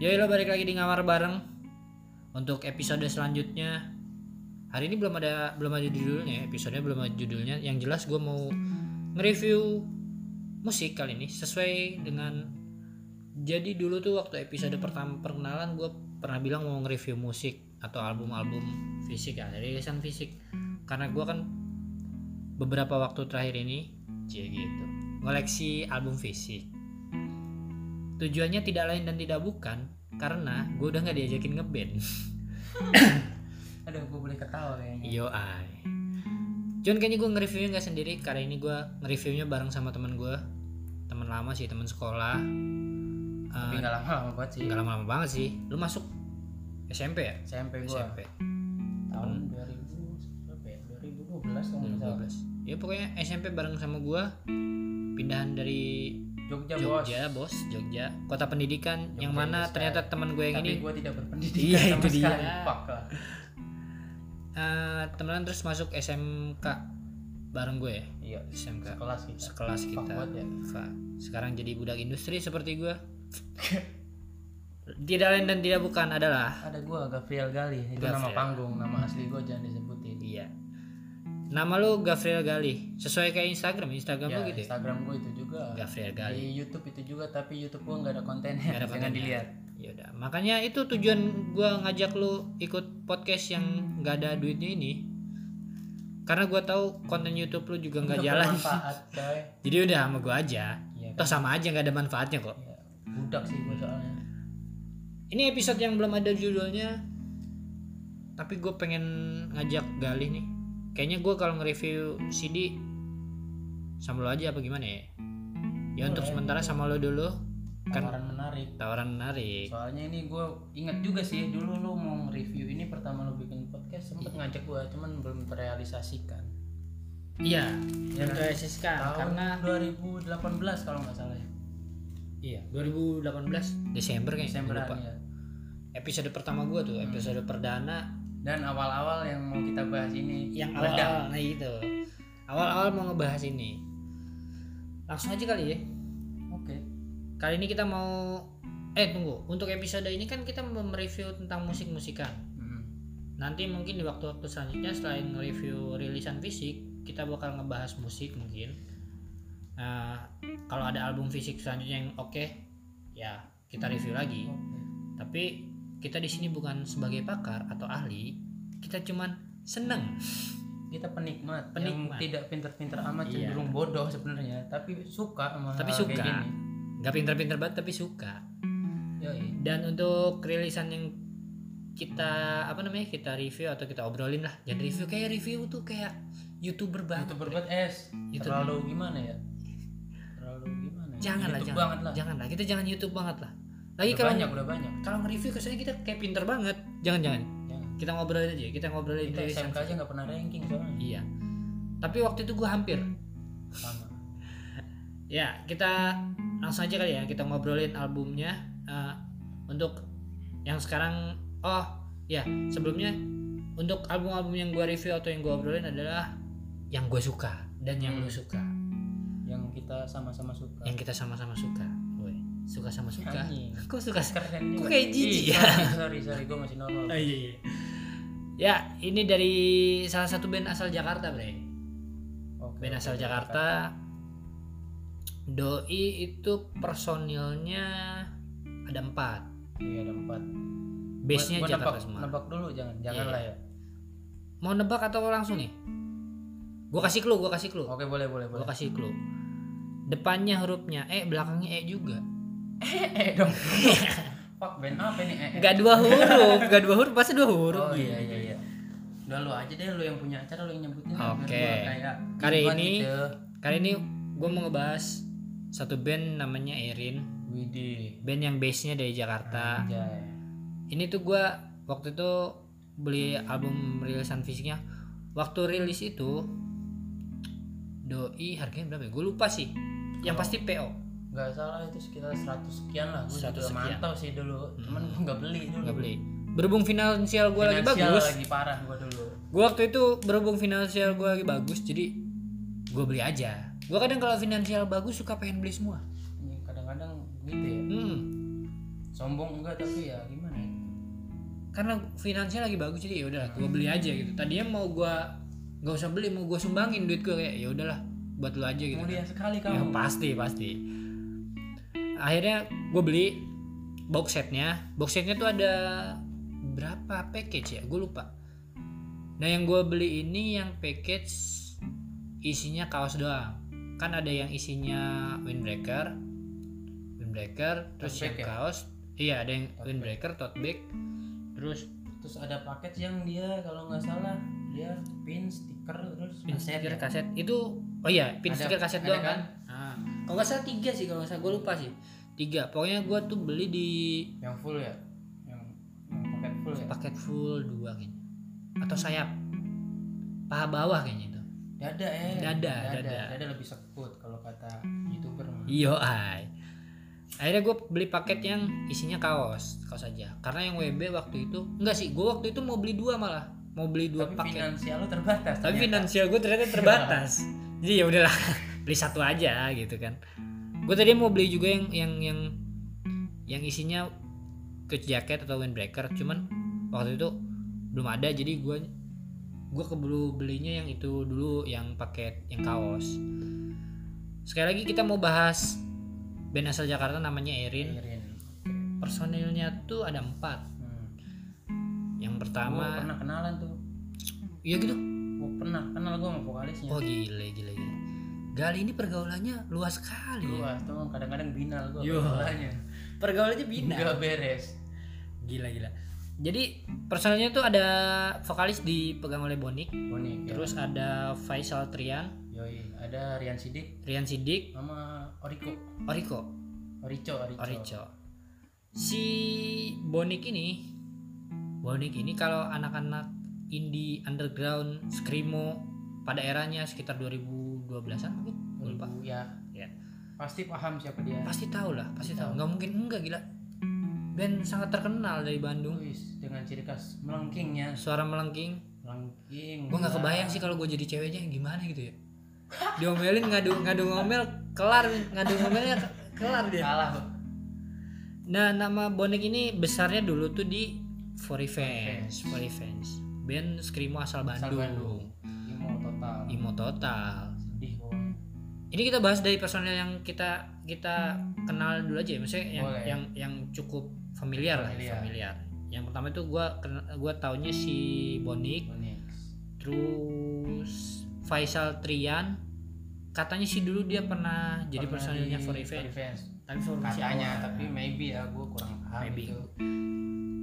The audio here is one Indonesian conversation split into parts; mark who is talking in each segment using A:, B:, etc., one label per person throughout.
A: Yoi lo Ya balik lagi di ngamar bareng untuk episode selanjutnya. Hari ini belum ada belum ada judulnya, ya, episodenya belum ada judulnya. Yang jelas gue mau nge-review musik kali ini sesuai dengan jadi dulu tuh waktu episode pertama perkenalan gue pernah bilang mau nge-review musik atau album-album fisik ya, rilisan fisik. Karena gue kan beberapa waktu terakhir ini, cie gitu, ngoleksi album fisik. Tujuannya tidak lain dan tidak bukan karena gue udah nggak diajakin ngeband.
B: Aduh, gue boleh ketawa kayaknya.
A: Yo Cuman kayaknya gue nge-reviewnya nggak sendiri. Kali ini gue nge-reviewnya bareng sama teman gue, teman lama sih, teman sekolah.
B: Tapi
A: Eh,
B: nggak lama-lama banget sih.
A: Nggak lama-lama banget sih. Lu masuk SMP ya?
B: SMP gue
A: SMP
B: tahun 2000 berapa ya? 2012 kalau nggak salah.
A: 2012. Ya pokoknya SMP bareng sama gue. Pindahan dari
B: Jogja, bos.
A: Jogja, bos. Jogja, kota pendidikan
B: Jogja
A: yang mana
B: Indostar.
A: ternyata teman gue yang
B: Tapi
A: ini
B: gue tidak berpendidikan
A: Iya,
B: sama
A: itu dia.
B: sekali. Fuck lah.
A: eh temenan terus masuk SMK bareng gue ya.
B: Iya,
A: SMK.
B: sekelas kita.
A: sekelas
B: Fuck
A: kita
B: banget ya.
A: Fuck. sekarang jadi budak industri seperti gue tidak lain dan tidak bukan adalah
B: Ada gue Gabriel Gali, itu nama
A: Gabriel.
B: panggung, nama asli gue jangan disebutin.
A: iya nama lu Gabriel Gali sesuai kayak Instagram Instagram
B: Ya,
A: lu gitu ya
B: Instagram gue itu juga.
A: Gabriel Gali Hmm.
B: Di YouTube itu juga, tapi YouTube gue nggak ada kontennya.
A: Nggak ada
B: Jangan
A: kontennya.
B: dilihat.
A: Yaudah, makanya itu tujuan gua ngajak lu ikut podcast yang gak ada duitnya ini karena gua tahu konten YouTube lu juga nggak
B: Nggak
A: jalan
B: bermanfaat, coy.
A: jadi udah sama gua aja
B: Iya,
A: toh sama aja nggak ada manfaatnya kok
B: Iya. Budak sih gue soalnya.
A: ini episode yang belum ada judulnya tapi gue pengen ngajak Galih nih kayaknya gue kalau nge-review CD sama lo aja apa gimana ya ya untuk
B: Boleh.
A: sementara sama lo dulu kan
B: Tawaran menarik.
A: tawaran menarik
B: Soalnya ini gue inget juga sih dulu lu mau review ini pertama lu bikin podcast sempet ngajak gue cuman belum terrealisasikan.
A: iya
B: Yang
A: yang kan
B: Tahun
A: karena
B: 2018 kalau nggak salah ya.
A: iya 2018 Desember kayaknya
B: Desember
A: lupa.
B: ya.
A: episode pertama gue tuh episode perdana
B: Dan awal-awal yang mau kita bahas ini
A: yang
B: meledak.
A: awal nah gitu awal-awal mau ngebahas ini langsung aja kali ya
B: Oke.
A: Kali ini kita mau eh tunggu, untuk episode ini kan kita mau mereview tentang musik-musikan.
B: Mm.
A: Nanti mungkin di waktu-waktu selanjutnya selain nge-review rilisan fisik, kita bakal ngebahas musik mungkin. Nah, kalau ada album fisik selanjutnya yang oke, ya kita review lagi.
B: Oke.
A: Tapi kita di sini bukan sebagai pakar atau ahli, kita cuman seneng.
B: Kita penikmat,
A: Penikmat.
B: yang tidak pinter-pinter amat
A: Iya.
B: cenderung bodoh sebenarnya, tapi suka sama
A: Tapi
B: hal kayak
A: suka.
B: gini.
A: Gak pinter-pinter banget tapi suka.
B: Yoi.
A: Dan untuk rilisan yang kita apa namanya kita review atau kita obrolin lah jangan
B: Hmm.
A: review kayak review tuh kayak youtuber banget
B: YouTuber buat es
A: Youtuber.
B: terlalu gimana ya? Terlalu gimana? ya?
A: jangan lah
B: YouTube
A: jangan
B: banget lah.
A: jangan lah kita jangan youtube banget lah lagi
B: Udah
A: kalau
B: banyak, udah banyak.
A: kalau nge-review kesannya kita kayak pinter banget jangan jangan
B: Jangan.
A: kita ngobrolin aja kita ngobrolin
B: Kita
A: rilisan.
B: SMK aja nggak pernah ranking soalnya.
A: iya tapi waktu itu gue hampir
B: Sama.
A: ya kita langsung aja kali ya kita ngobrolin albumnya Eh, untuk yang sekarang oh ya sebelumnya untuk album-album yang gua review atau yang gua obrolin adalah yang gue suka dan yang lu suka
B: Yang kita sama-sama suka.
A: yang kita sama-sama suka Woy, suka sama suka
B: Anjing.
A: kok suka
B: Keren
A: Kok
B: juga.
A: kayak jijik
B: Ih,
A: ya?
B: Sorry, sorry, sorry. Gue masih normal.
A: Ah, iya, iya. ya ini dari salah satu band asal Jakarta bre
B: Oke,
A: band
B: oke,
A: asal
B: oke.
A: Jakarta doi itu personilnya ada empat
B: Iya, ada empat.
A: base-nya
B: Gua- gua
A: Jakarta
B: nebak-
A: semua.
B: Nebak dulu, jangan. Jangan
A: Iya.
B: lah ya.
A: Mau nebak atau langsung nih? Gua kasih clue, gua kasih clue.
B: Oke, boleh, boleh,
A: Gua
B: Oh, boleh.
A: kasih clue. Depannya hurufnya E, belakangnya E juga.
B: Eh, eh dong.
A: Iya.
B: Pak, band apa nih? Eh, eh.
A: Gak dua huruf, gak dua huruf, pasti dua huruf.
B: Oh iya iya iya. Udah lu aja deh lu yang punya acara lu yang nyebutin lah, biar
A: Oke.
B: gua kayak
A: Kali
B: duluan
A: ini-
B: gitu.
A: Kali ini gua mau ngebahas satu band namanya Erin,
B: Widih.
A: band yang base-nya dari Jakarta.
B: Anjay.
A: Ini tuh gua waktu itu beli album rilisan fisiknya. Waktu rilis itu doi harganya berapa ya? Gue lupa sih. Yang
B: Kalau-
A: pasti PO.
B: Nggak salah itu sekitar 100 sekian lah. Gue
A: 100
B: juga
A: sekian.
B: mantau sih dulu. Cuman gue nggak beli dulu.
A: nggak beli. Berhubung finansial gue lagi
B: Finansial
A: bagus,
B: lagi parah gue dulu.
A: gue waktu itu berhubung finansial gue lagi bagus jadi gue beli aja gue kadang kalau finansial bagus suka pengen beli semua
B: Ini Kadang-kadang gitu ya.
A: hmm.
B: So sombong enggak tapi ya gimana ya
A: karena finansial lagi bagus jadi ya udahlah gue beli aja gitu tadinya mau gue nggak usah beli mau gue sumbangin duit gue kayak ya udahlah buat lu aja gitu
B: mulia sekali
A: ya
B: kamu
A: pasti pasti akhirnya gue beli box setnya box setnya tuh ada berapa package ya gue lupa nah yang gue beli ini yang package isinya kaos doang kan ada yang isinya windbreaker windbreaker terus
B: Tote bag
A: yang
B: ya?
A: kaos iya ada yang
B: Tote bag.
A: windbreaker tote bag terus
B: terus ada paket yang dia kalau nggak salah dia pin stiker terus
A: pin
B: kaset
A: stiker kan.
B: ya?
A: kaset itu oh iya pin
B: Ada-
A: stiker kaset
B: ada
A: doang
B: kan?
A: kan, Nah, kalau nggak salah tiga sih kalau nggak salah gue lupa sih tiga pokoknya gue tuh beli di
B: yang full ya yang, yang paket full ya
A: paket full dua kayaknya atau sayap paha bawah kayaknya itu
B: dada ya
A: Dada,
B: dada,
A: dada. Iya,
B: lebih sekut kalau kata youtuber mah
A: iyo ay akhirnya gue beli paket yang isinya kaos kaos aja karena yang WB waktu itu enggak sih gue waktu itu mau beli dua malah mau beli dua
B: tapi
A: paket
B: finansial lu terbatas
A: tapi
B: ternyata.
A: finansial gue ternyata terbatas jadi ya udahlah beli satu aja gitu kan gue tadi mau beli juga yang yang yang yang isinya ke jaket atau windbreaker cuman waktu itu belum ada jadi gue gue keburu belinya yang itu dulu yang paket yang kaos sekali lagi kita mau bahas band asal Jakarta namanya Erin
B: Irin.
A: personilnya tuh ada empat
B: Hmm.
A: yang
B: Gua
A: pertama
B: pernah kenalan tuh
A: Oh, iya gitu
B: gua pernah kenal gua sama vokalisnya
A: Oh gile gile gile. Gali ini pergaulannya luas sekali ya.
B: gua tuh kadang-kadang binal gua
A: Yo.
B: vokalisnya
A: Pergaulannya
B: nggak beres
A: Gila gila. Jadi personelnya tuh ada vokalis dipegang oleh Bonik,
B: unik ya.
A: terus ada Faisal Trian,
B: yoi ada Rian Sidik
A: Rian Sidik,
B: sama Oriko
A: Oriko,
B: Orico Orico,
A: Orico. Si Bonik ini Bonik ini kalau anak-anak indie underground screamo pada eranya sekitar 2012-an mungkin gua lupa.
B: Ibu, ya
A: Ya.
B: pasti paham siapa dia
A: Pasti tahu lah, pasti
B: Tahu.
A: tahu. Nggak mungkin enggak gila. Band sangat terkenal dari Bandung.
B: Wis, dengan ciri khas melengkingnya
A: Suara melengking.
B: melengking
A: Gue nggak kebayang sih kalau gue jadi ceweknya gimana gitu ya. Diomelin ngadu ngadu ngomel kelar ngadu ngomelnya ke- kelar dia.
B: kalah Bu.
A: Nah nama bonek ini besarnya dulu tuh di For Revenge, For Revenge. Band screamo asal
B: Asal
A: Bandung.
B: Bandung. imo total
A: Imo total.
B: sedih pokoknya
A: Ini kita bahas dari personel yang kita kita kenal dulu aja ya, maksudnya yang
B: Boleh.
A: yang yang cukup familiar,
B: Familiar.
A: lah, familiar. Yang pertama itu gue gue taunya si Bonik,
B: Onyx
A: terus Faisal Trian katanya sih dulu dia pernah jadi
B: Pernah
A: personilnya
B: di
A: for event
B: Revenge.
A: tapi for Revenge
B: katanya
A: awal.
B: tapi maybe ya gue kurang paham
A: Maybe.
B: itu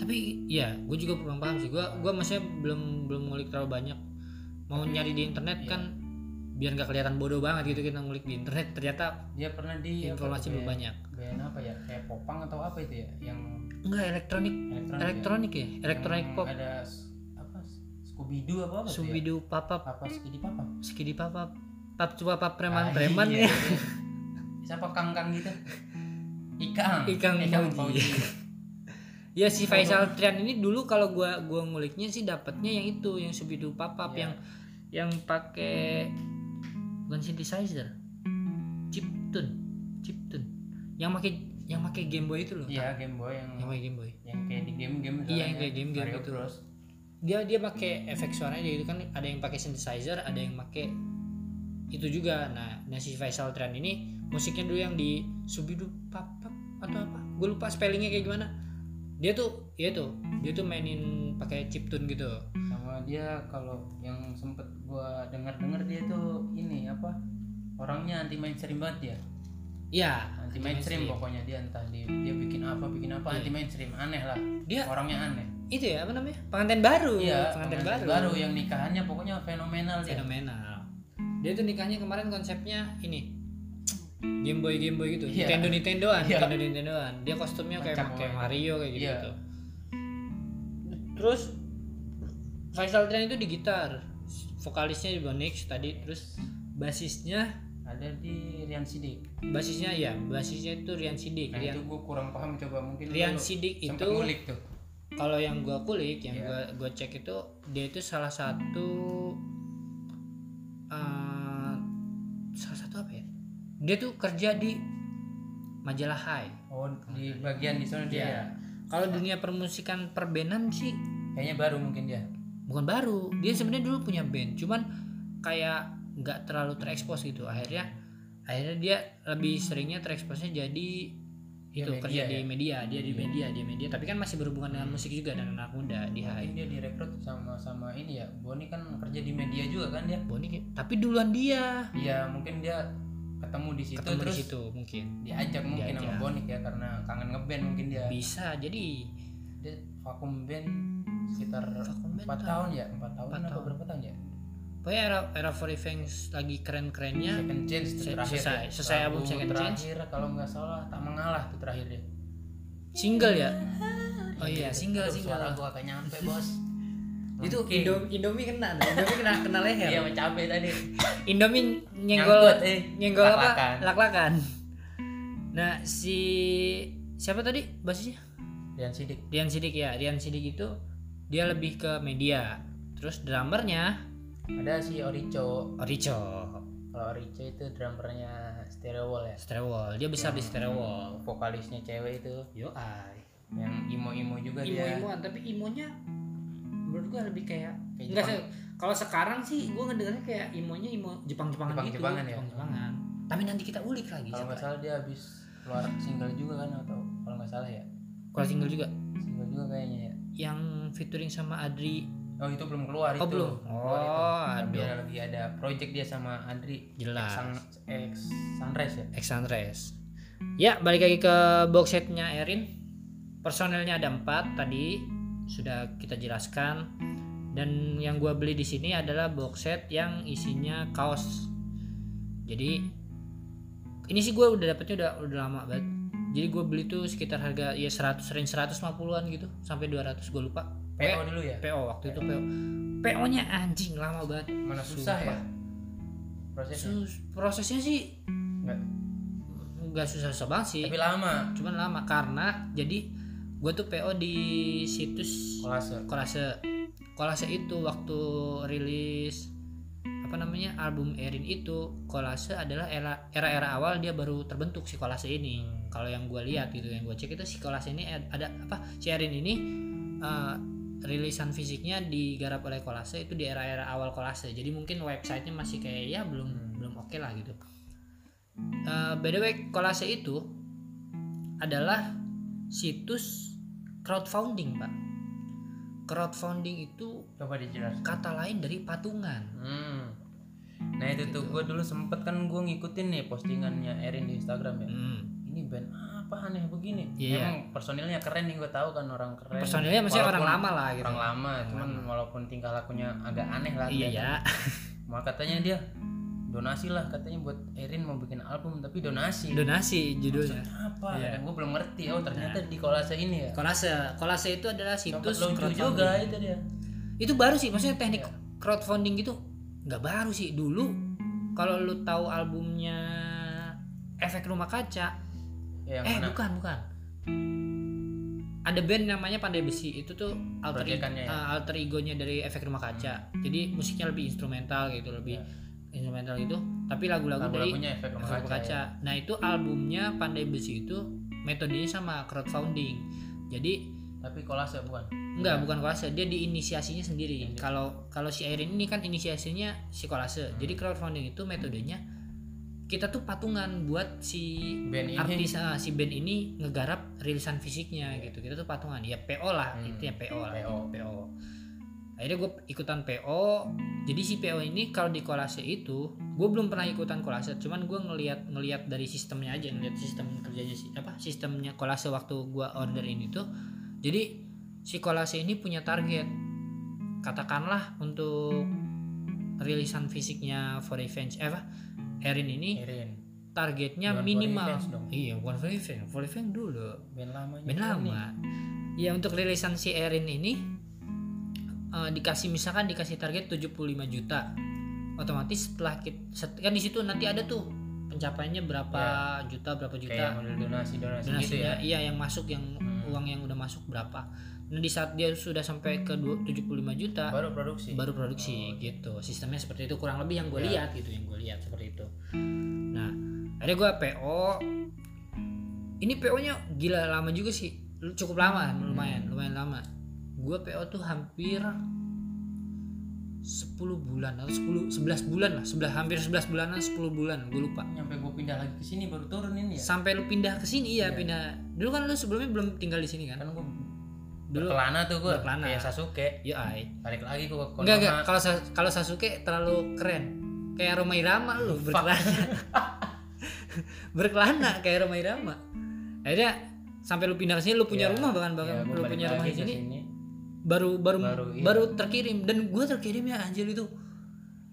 A: tapi ya gue juga kurang paham sih gue gue maksudnya belum belum ngulik terlalu banyak mau nyari di internet
B: Iya.
A: kan biar nggak kelihatan bodoh banget gitu kita ngulik di internet ternyata
B: dia pernah di apa
A: informasi
B: tuh,
A: belum
B: band-
A: banyak
B: band apa ya kayak popang atau apa itu ya yang
A: enggak elektronik
B: elektronik ya?
A: elektronik ya elektronik
B: Yang
A: pop
B: ada s- apa Scooby Doo apa apa tuh
A: subidu
B: ya?
A: papap
B: apa Skidi Papa
A: skidi papap pap coba pap
B: Ah,
A: preman preman
B: iya,
A: ya
B: iya. siapa Kang Kang gitu Ikang Eh,
A: Ikang Fauji.
B: Fauji.
A: Ya si Faisal Trian ini dulu kalau gua gua nguliknya sih dapatnya yang itu yang Subidu Papap
B: Iya.
A: yang yang pakai bukan synthesizer. Chip tune, chip tune. Yang pakai yang pakai Game Boy itu loh.
B: iya Game Boy yang
A: Yang pakai Game Boy.
B: yang kayak di
A: Iya,
B: game-game
A: yang
B: sekarang
A: kayak
B: ya.
A: game-game
B: Mario
A: gitu.
B: Bros.
A: Dia dia pakai efek suaranya dia itu kan ada yang pakai synthesizer, ada yang pakai itu juga. Nah, nah si Faisal Trian ini musiknya dulu yang di Subidu Papap atau apa? Gue lupa spellingnya kayak gimana. Dia tuh, ya tuh, dia tuh mainin pakai chip tune gitu.
B: sama dia kalau yang sempet gua dengar dengar dia tuh ini apa orangnya anti mainstream banget ya
A: Ya,
B: anti mainstream pokoknya dia entah dia, dia bikin apa bikin apa
A: Iya.
B: anti mainstream aneh lah
A: Dia-
B: orangnya aneh
A: itu ya apa namanya? Pengantin baru.
B: iya
A: pengantin,
B: pengantin
A: baru.
B: baru yang nikahannya pokoknya fenomenal dia
A: Fenomenal. Dia tuh nikahnya kemarin konsepnya ini. Game Boy Game Boy gitu.
B: Iya.
A: Nintendo Nintendoan,
B: Iya.
A: Nintendo Nintendoan. Dia kostumnya kayak
B: Kocak
A: pakai
B: banget.
A: Mario kayak gitu.
B: Iya.
A: gitu. Terus Faisal Trian itu di gitar. Vokalisnya di Bonix tadi terus basisnya
B: ada di Rian Sidik
A: basisnya ya basisnya itu Rian Sidik
B: nah
A: Rian,
B: itu gua kurang paham coba mungkin lu
A: Rian Sidik
B: sempet
A: itu
B: ngulik tuh
A: kalau yang gua kulik yang
B: Iya.
A: gua gua cek itu dia itu salah satu eh, salah satu apa ya dia tuh kerja di majalah High
B: oh oh di bagian di sana dia ya.
A: Iya. Kalau dunia permusikan perbenan sih
B: kayaknya baru mungkin dia
A: bukan baru. Dia sebenarnya dulu punya band, cuman kayak nggak terlalu terekspos gitu. Akhirnya akhirnya dia lebih seringnya tereksposnya jadi itu
B: media
A: kerja
B: ya.
A: di media, dia di media, dia media. Tapi kan masih berhubungan dengan musik juga dan anak muda di HI.
B: mungkin dia direkrut sama sama ini ya Boni kan kerja di media juga kan ya
A: Boni, tapi duluan dia
B: ya mungkin dia ketemu di situ
A: ketemu di
B: terus
A: situ mungkin
B: diajak mungkin sama
A: Diajak.
B: Bonik ya karena kangen ngeband mungkin dia
A: bisa jadi
B: dia vakum band sekitar
A: Vakum band
B: empat
A: tahun.
B: tahun ya empat tahun
A: Empat
B: atau
A: tahun.
B: berapa tahun ya
A: pokoknya era era for revenge lagi keren kerennya
B: Second Chance itu
A: Se-
B: terakhir
A: selesai-
B: ya.
A: selesai
B: Lagu
A: album Second Chance.
B: terakhir kalau nggak salah tak mengalah itu terakhir ya
A: single ya oh iya single
B: Aduh, suara
A: single
B: gua gak nyampe bos
A: itu
B: Oke.
A: Indo- Indomie kena tuh. Indomie kena kena leher
B: Iya, capek tadi.
A: Indomie nyenggol
B: Nyangkut, eh.
A: nyenggol
B: Lak-lakan.
A: apa lak-lakan nah si siapa tadi basisnya
B: Dan sidik.
A: Dian Sidik ya Dian Sidik itu dia lebih ke media terus drummernya
B: Ada si Orico.
A: Orico
B: Kalau Orico itu drummernya Stereo Wall ya. Hmm,
A: Sterewall dia besar di Sterewall
B: Vokalisnya cewek itu
A: yo ai
B: yang
A: Hmm.
B: imo-imo juga dia.
A: imo-imoan tapi imonya menurut gua lebih kayak
B: Kayak
A: enggak
B: Jepang.
A: sih kalau sekarang sih gua ngedengarnya kayak imonya imo Jepang-Jepangan gitu
B: Jepang-Jepangan ya?
A: Jepang-Jepangan. tapi nanti kita ulik lagi
B: Kalau
A: siapa
B: nggak salah dia habis keluar single juga kan atau kalau nggak salah ya.
A: kalau single juga
B: Single juga kayaknya ya.
A: yang featuring sama Adri
B: Oh, itu belum keluar
A: Oh,
B: itu.
A: belum?
B: Keluar itu.
A: Oh,
B: Tapi
A: aduh.
B: ada lagi ada project dia sama Andri.
A: jelas
B: Sang ex Sunrise ya.
A: Ex Andres ya balik lagi ke box setnya Erin personelnya ada empat tadi sudah kita jelaskan dan yang gua beli di sini adalah box set yang isinya kaos jadi ini sih gua udah dapetnya udah udah lama banget jadi gua beli tuh sekitar harga ya 100 range 150-an gitu sampai 200 gua lupa
B: PO dulu ya.
A: PO waktu itu PO PO nya anjing lama banget
B: Mana susah ya
A: Sumpah.
B: prosesnya.
A: Sus- prosesnya sih
B: Iya. Nggak.
A: nggak susah-susah banget sih
B: Tapi lama
A: cuman lama karena jadi gue tuh PO di situs
B: kolase.
A: kolase kolase itu waktu rilis apa namanya album Erin itu kolase adalah era era awal dia baru terbentuk si kolase ini kalau yang gue lihat gitu yang gue cek itu si kolase ini ad- ada apa si Erin ini eh, rilisan fisiknya digarap oleh kolase itu di era-era awal kolase jadi mungkin websitenya masih kayak ya belum
B: Hmm.
A: belum oke lah gitu Eh, by the way kolase itu adalah situs crowdfunding pak crowdfunding itu
B: Coba dijelaskan.
A: kata lain dari patungan
B: Hmm. Nah itu tuh gue dulu sempet kan gue ngikutin nih postingannya Erin di Instagram ya.
A: hmm.
B: Ini band apa aneh begini?
A: Iya.
B: Emang personilnya keren nih gue tahu kan orang keren.
A: personilnya maksudnya orang
B: Walaupun-
A: lama lah gitu
B: Orang lama, kan cuman walaupun tingkah lakunya agak aneh lah.
A: iya ya
B: kelihatan. Malah katanya dia donasi lah katanya buat Erin mau bikin album tapi donasi.
A: donasi
B: ya?
A: judulnya
B: Apa?
A: Iya.
B: Dan gue belum ngerti. Oh ternyata di kolase ini ya.
A: kolase kolase itu adalah
B: Sempet
A: situs
B: lucu
A: crowdfunding
B: juga Iya. itu dia.
A: itu baru sih maksudnya teknik crowdfunding gitu nggak baru sih dulu kalau lu tahu albumnya efek rumah kaca
B: Ya, yang
A: eh
B: mana?
A: bukan bukan ada band namanya Pandai Besi itu tuh alter
B: Proyekannya ya? Hmm.
A: eh, alter egonya dari efek rumah kaca jadi musiknya lebih instrumental gitu lebih
B: Ya.
A: instrumental gitu tapi lagu-lagu dari
B: Lagu-lagunya efek ya. rumah
A: Efek
B: kaca.
A: kaca. Nah itu albumnya Pandai Besi itu metodenya sama crowdfunding. Jadi
B: ya. Tapi kolase bukan.
A: enggak bukan kolase, dia diinisiasinya sendiri.
B: Sendiri.
A: Kalau kalau si Erin ini kan inisiasinya si kolase.
B: Hmm.
A: Jadi crowdfunding itu metodenya kita tuh patungan buat si
B: Band ini.
A: artis ah, si band ini ngegarap rilisan fisiknya gitu. Kita tuh patungan. Ya PO lah,
B: Iya. Hmm.
A: intinya PO lah.
B: PO.
A: PO. Akhirnya gue ikutan PO. Jadi si PO ini kalau di kolase itu, gue belum pernah ikutan kolase. Cuman gue ngelihat ngelihat dari sistemnya aja, ngelihat sistem kerjanya si apa sistemnya kolase waktu gue order ini tuh. Jadi si kolase ini punya target. Katakanlah untuk rilisan fisiknya For Revenge, eh apa? Erin ini
B: Erin.
A: targetnya
B: Iya. Bukan
A: minimal
B: Volley Fans dong.
A: iya bukan Volley Fans, Volley Fans dulu
B: Band lamanya.
A: band
B: keren nih.
A: lama ya untuk rilisan si Erin ini eh, dikasih misalkan dikasih target 75 juta otomatis setelah kita kan di situ nanti ada tuh pencapaiannya berapa juta berapa juta
B: Iya. kayak model donasi donasi gitu ya
A: donasinya iya yang masuk yang
B: Hmm.
A: uang yang udah masuk berapa nah di saat dia sudah sampai ke dua- 75 juta
B: baru
A: iya.
B: produksi Oh, iya.
A: baru produksi gitu sistemnya seperti itu kurang lebih yang gue
B: Ya.
A: lihat gitu yang gue lihat seperti itu nah akhirnya gue PO ini PO nya gila lama juga sih Lu- cukup lama lumayan lumayan lama gue PO tuh hampir 10 bulan atau 10 11 bulan lah 11 hampir 11 bulanan 10 bulan gue lupa
B: nyampe gue pindah lagi ke sini baru turun ini ya
A: sampai lu pindah ke sini ya
B: Iya.
A: pindah dulu kan lu sebelumnya belum tinggal di sini kan
B: kan gue
A: Dulu-
B: berkelana tuh gue
A: berkelana.
B: kayak Sasuke
A: ya ay
B: balik lagi gue ke
A: enggak enggak
B: Konoha.
A: kalau Sa- kalau Sasuke terlalu keren kayak Roma Irama lu berkelana berkelana kayak Roma Irama akhirnya sampai lu pindah ke sini lu punya
B: Iya.
A: rumah bahkan
B: Ya,
A: bahkan
B: gua
A: lu
B: balik
A: punya
B: lagi
A: rumah di
B: ke
A: sini
B: sini.
A: baru baru baru,
B: Baru, iya.
A: terkirim dan gue terkirim ya anjir itu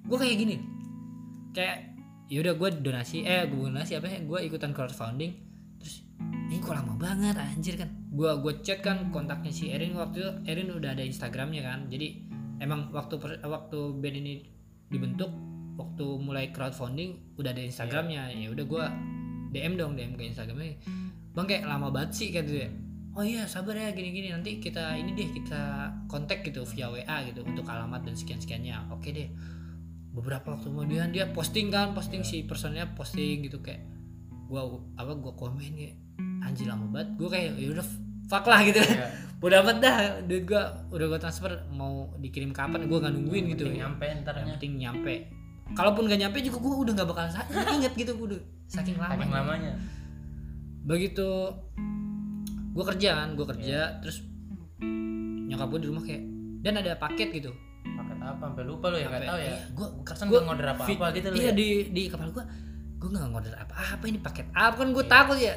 A: gue kayak gini kayak yaudah gue donasi eh gue donasi apa ya gue ikutan crowdfunding terus ini kok lama banget anjir kan gue gue chat kan kontaknya si Erin waktu itu Erin udah ada Instagramnya kan jadi emang waktu per- waktu band ini dibentuk waktu mulai crowdfunding udah ada Instagramnya ya udah gue DM dong DM ke Instagramnya bang kayak lama banget sih kayak gitu ya oh iya sabar ya gini-gini nanti kita ini deh kita kontak gitu via WA gitu untuk alamat dan sekian-sekiannya oke deh beberapa waktu kemudian dia posting kan posting si personnya posting gitu kayak gua apa gua komen ya anjir lama banget gua kayak ya udah fuck lah gitu
B: Iya.
A: udah amat dah duit gua udah gua transfer mau dikirim kapan gua nggak nungguin gitu
B: Penting nyampe ya.
A: yang
B: entarnya
A: penting nyampe kalaupun gak nyampe juga gua udah nggak bakal sa- inget gitu gua udah saking lama
B: Saking lamanya
A: begitu gue kerja kan gue kerja
B: Iya.
A: terus nyokap gue di rumah kayak dan ada paket gitu Iya,
B: paket apa sampai lupa lu ya nggak tahu ya
A: gue
B: Karena
A: gue
B: nggak ngorder apa-apa gitu lu
A: iya
B: ya
A: di di kepala gue gue nggak ngorder apa-apa ini paket apa kan
B: Iya.
A: gue takut ya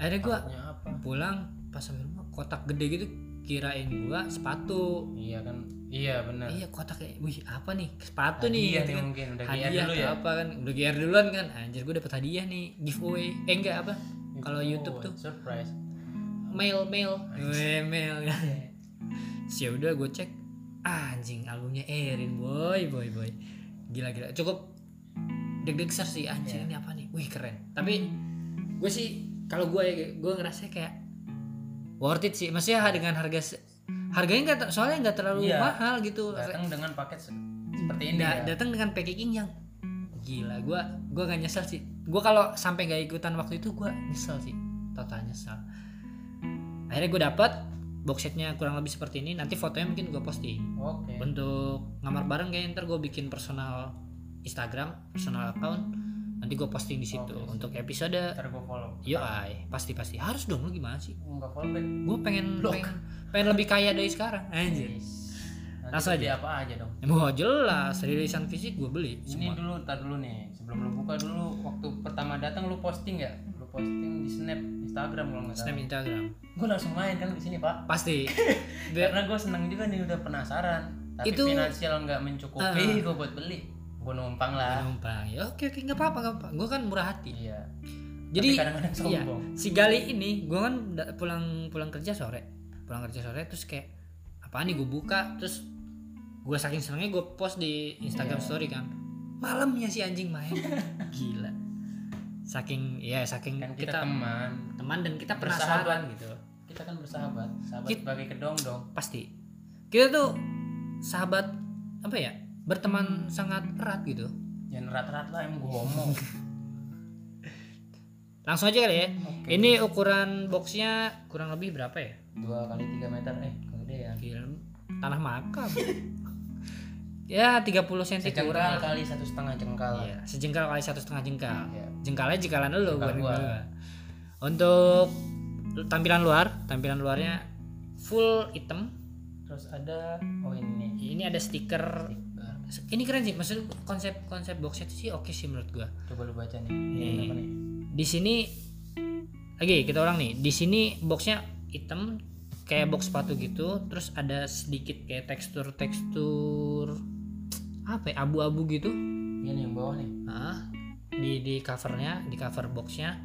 A: akhirnya gue
B: Paketnya apa
A: pulang pas sampai rumah kotak gede gitu kirain gue sepatu
B: iya kan iya benar
A: iya kotak kayak wih apa nih sepatu nih
B: iya
A: gitu
B: nih
A: kan.
B: mungkin udah GR
A: hadiah
B: dulu
A: atau
B: ya
A: apa kan udah GR duluan kan anjir gue dapet hadiah nih giveaway eh enggak apa Kalau YouTube tuh.
B: surprise
A: mail mail Weh, mail Terus ya udah gue cek ah, anjing albumnya Erin boy boy boy gila gila cukup deg-deg ser sih anjing ini
B: Iya.
A: apa nih wih keren tapi gue sih kalau gue ya gue ngerasa kayak worth it sih maksudnya dengan harga se- harganya nggak ter- soalnya nggak terlalu
B: Iya.
A: mahal gitu
B: datang dengan paket se- seperti ini
A: Da-
B: ya.
A: datang dengan packaging yang gila gue gue gak nyesel sih gue kalau sampai nggak ikutan waktu itu gue nyesel sih total nyesel akhirnya gue dapat box setnya kurang lebih seperti ini nanti fotonya mungkin gue posting
B: oke
A: untuk ngamar bareng kayaknya ntar gue bikin personal Instagram personal account nanti gue posting di situ
B: Oh, Oke, sih.
A: untuk episode
B: ntar gue follow
A: UI pasti pasti harus dong lu gimana sih
B: nggak follow back
A: gue pengen,
B: Blok. Iya.
A: pengen pengen lebih kaya dari sekarang anjir
B: Yes. Nanti
A: Langsung
B: beli apa aja dong
A: Wah jelas rilisan fisik gue beli
B: ini
A: semua
B: dulu tar dulu nih sebelum lu buka dulu waktu pertama datang lu posting ya lu posting di snap Instagram kalau nggak
A: Snap
B: salah
A: Instagram
B: gue langsung main kan ke sini pak
A: pasti Biar-
B: karena gue seneng juga nih udah penasaran tapi
A: Itu-
B: finansial nggak mencukupi
A: Ah.
B: gue buat beli gue numpang lah
A: numpang ya oke oke nggak apa-apa nggak apa gue kan murah hati
B: iya
A: jadi
B: Tapi kan- kadang-kadang
A: iya,
B: sombong
A: si Gali ini gue kan da- pulang pulang kerja sore pulang kerja sore terus kayak apaan nih gue buka terus gue saking senengnya gue post di Instagram
B: Iya.
A: Story kan malamnya si anjing main gila saking ya saking
B: kan kita,
A: kita,
B: teman
A: teman dan kita
B: bersahabat.
A: penasaran gitu
B: kita kan bersahabat sahabat
A: Kit-
B: sebagai kedong dong
A: pasti kita tuh sahabat apa ya berteman sangat erat gitu
B: jangan rat-rat lah em gue ngomong
A: langsung aja kali ya
B: Oke.
A: Ini ukuran boxnya kurang lebih berapa ya?
B: dua kali tiga meter eh kegedean
A: Gila, tanah makam. ya 30 cm
B: sejengkal
A: kurang.
B: kali satu setengah jengkal
A: Iya, sejengkal kali satu setengah jengkal.
B: Iya.
A: Jengkalnya jengkalan lu
B: Jengkal
A: bukan
B: gua.
A: gua. Untuk tampilan luar, tampilan luarnya full hitam.
B: terus ada oh ini
A: Ini ada stiker.
B: Stiker.
A: Ini keren sih, maksud konsep konsep boxnya itu sih oke sih menurut gua.
B: coba lu baca nih
A: Nih.
B: ini apa nih
A: di sini lagi kita ulang nih di sini boxnya hitam kayak box sepatu gitu terus ada sedikit kayak tekstur tekstur apa ya, abu-abu gitu
B: ini yang bawah nih
A: Nah, di di covernya di cover boxnya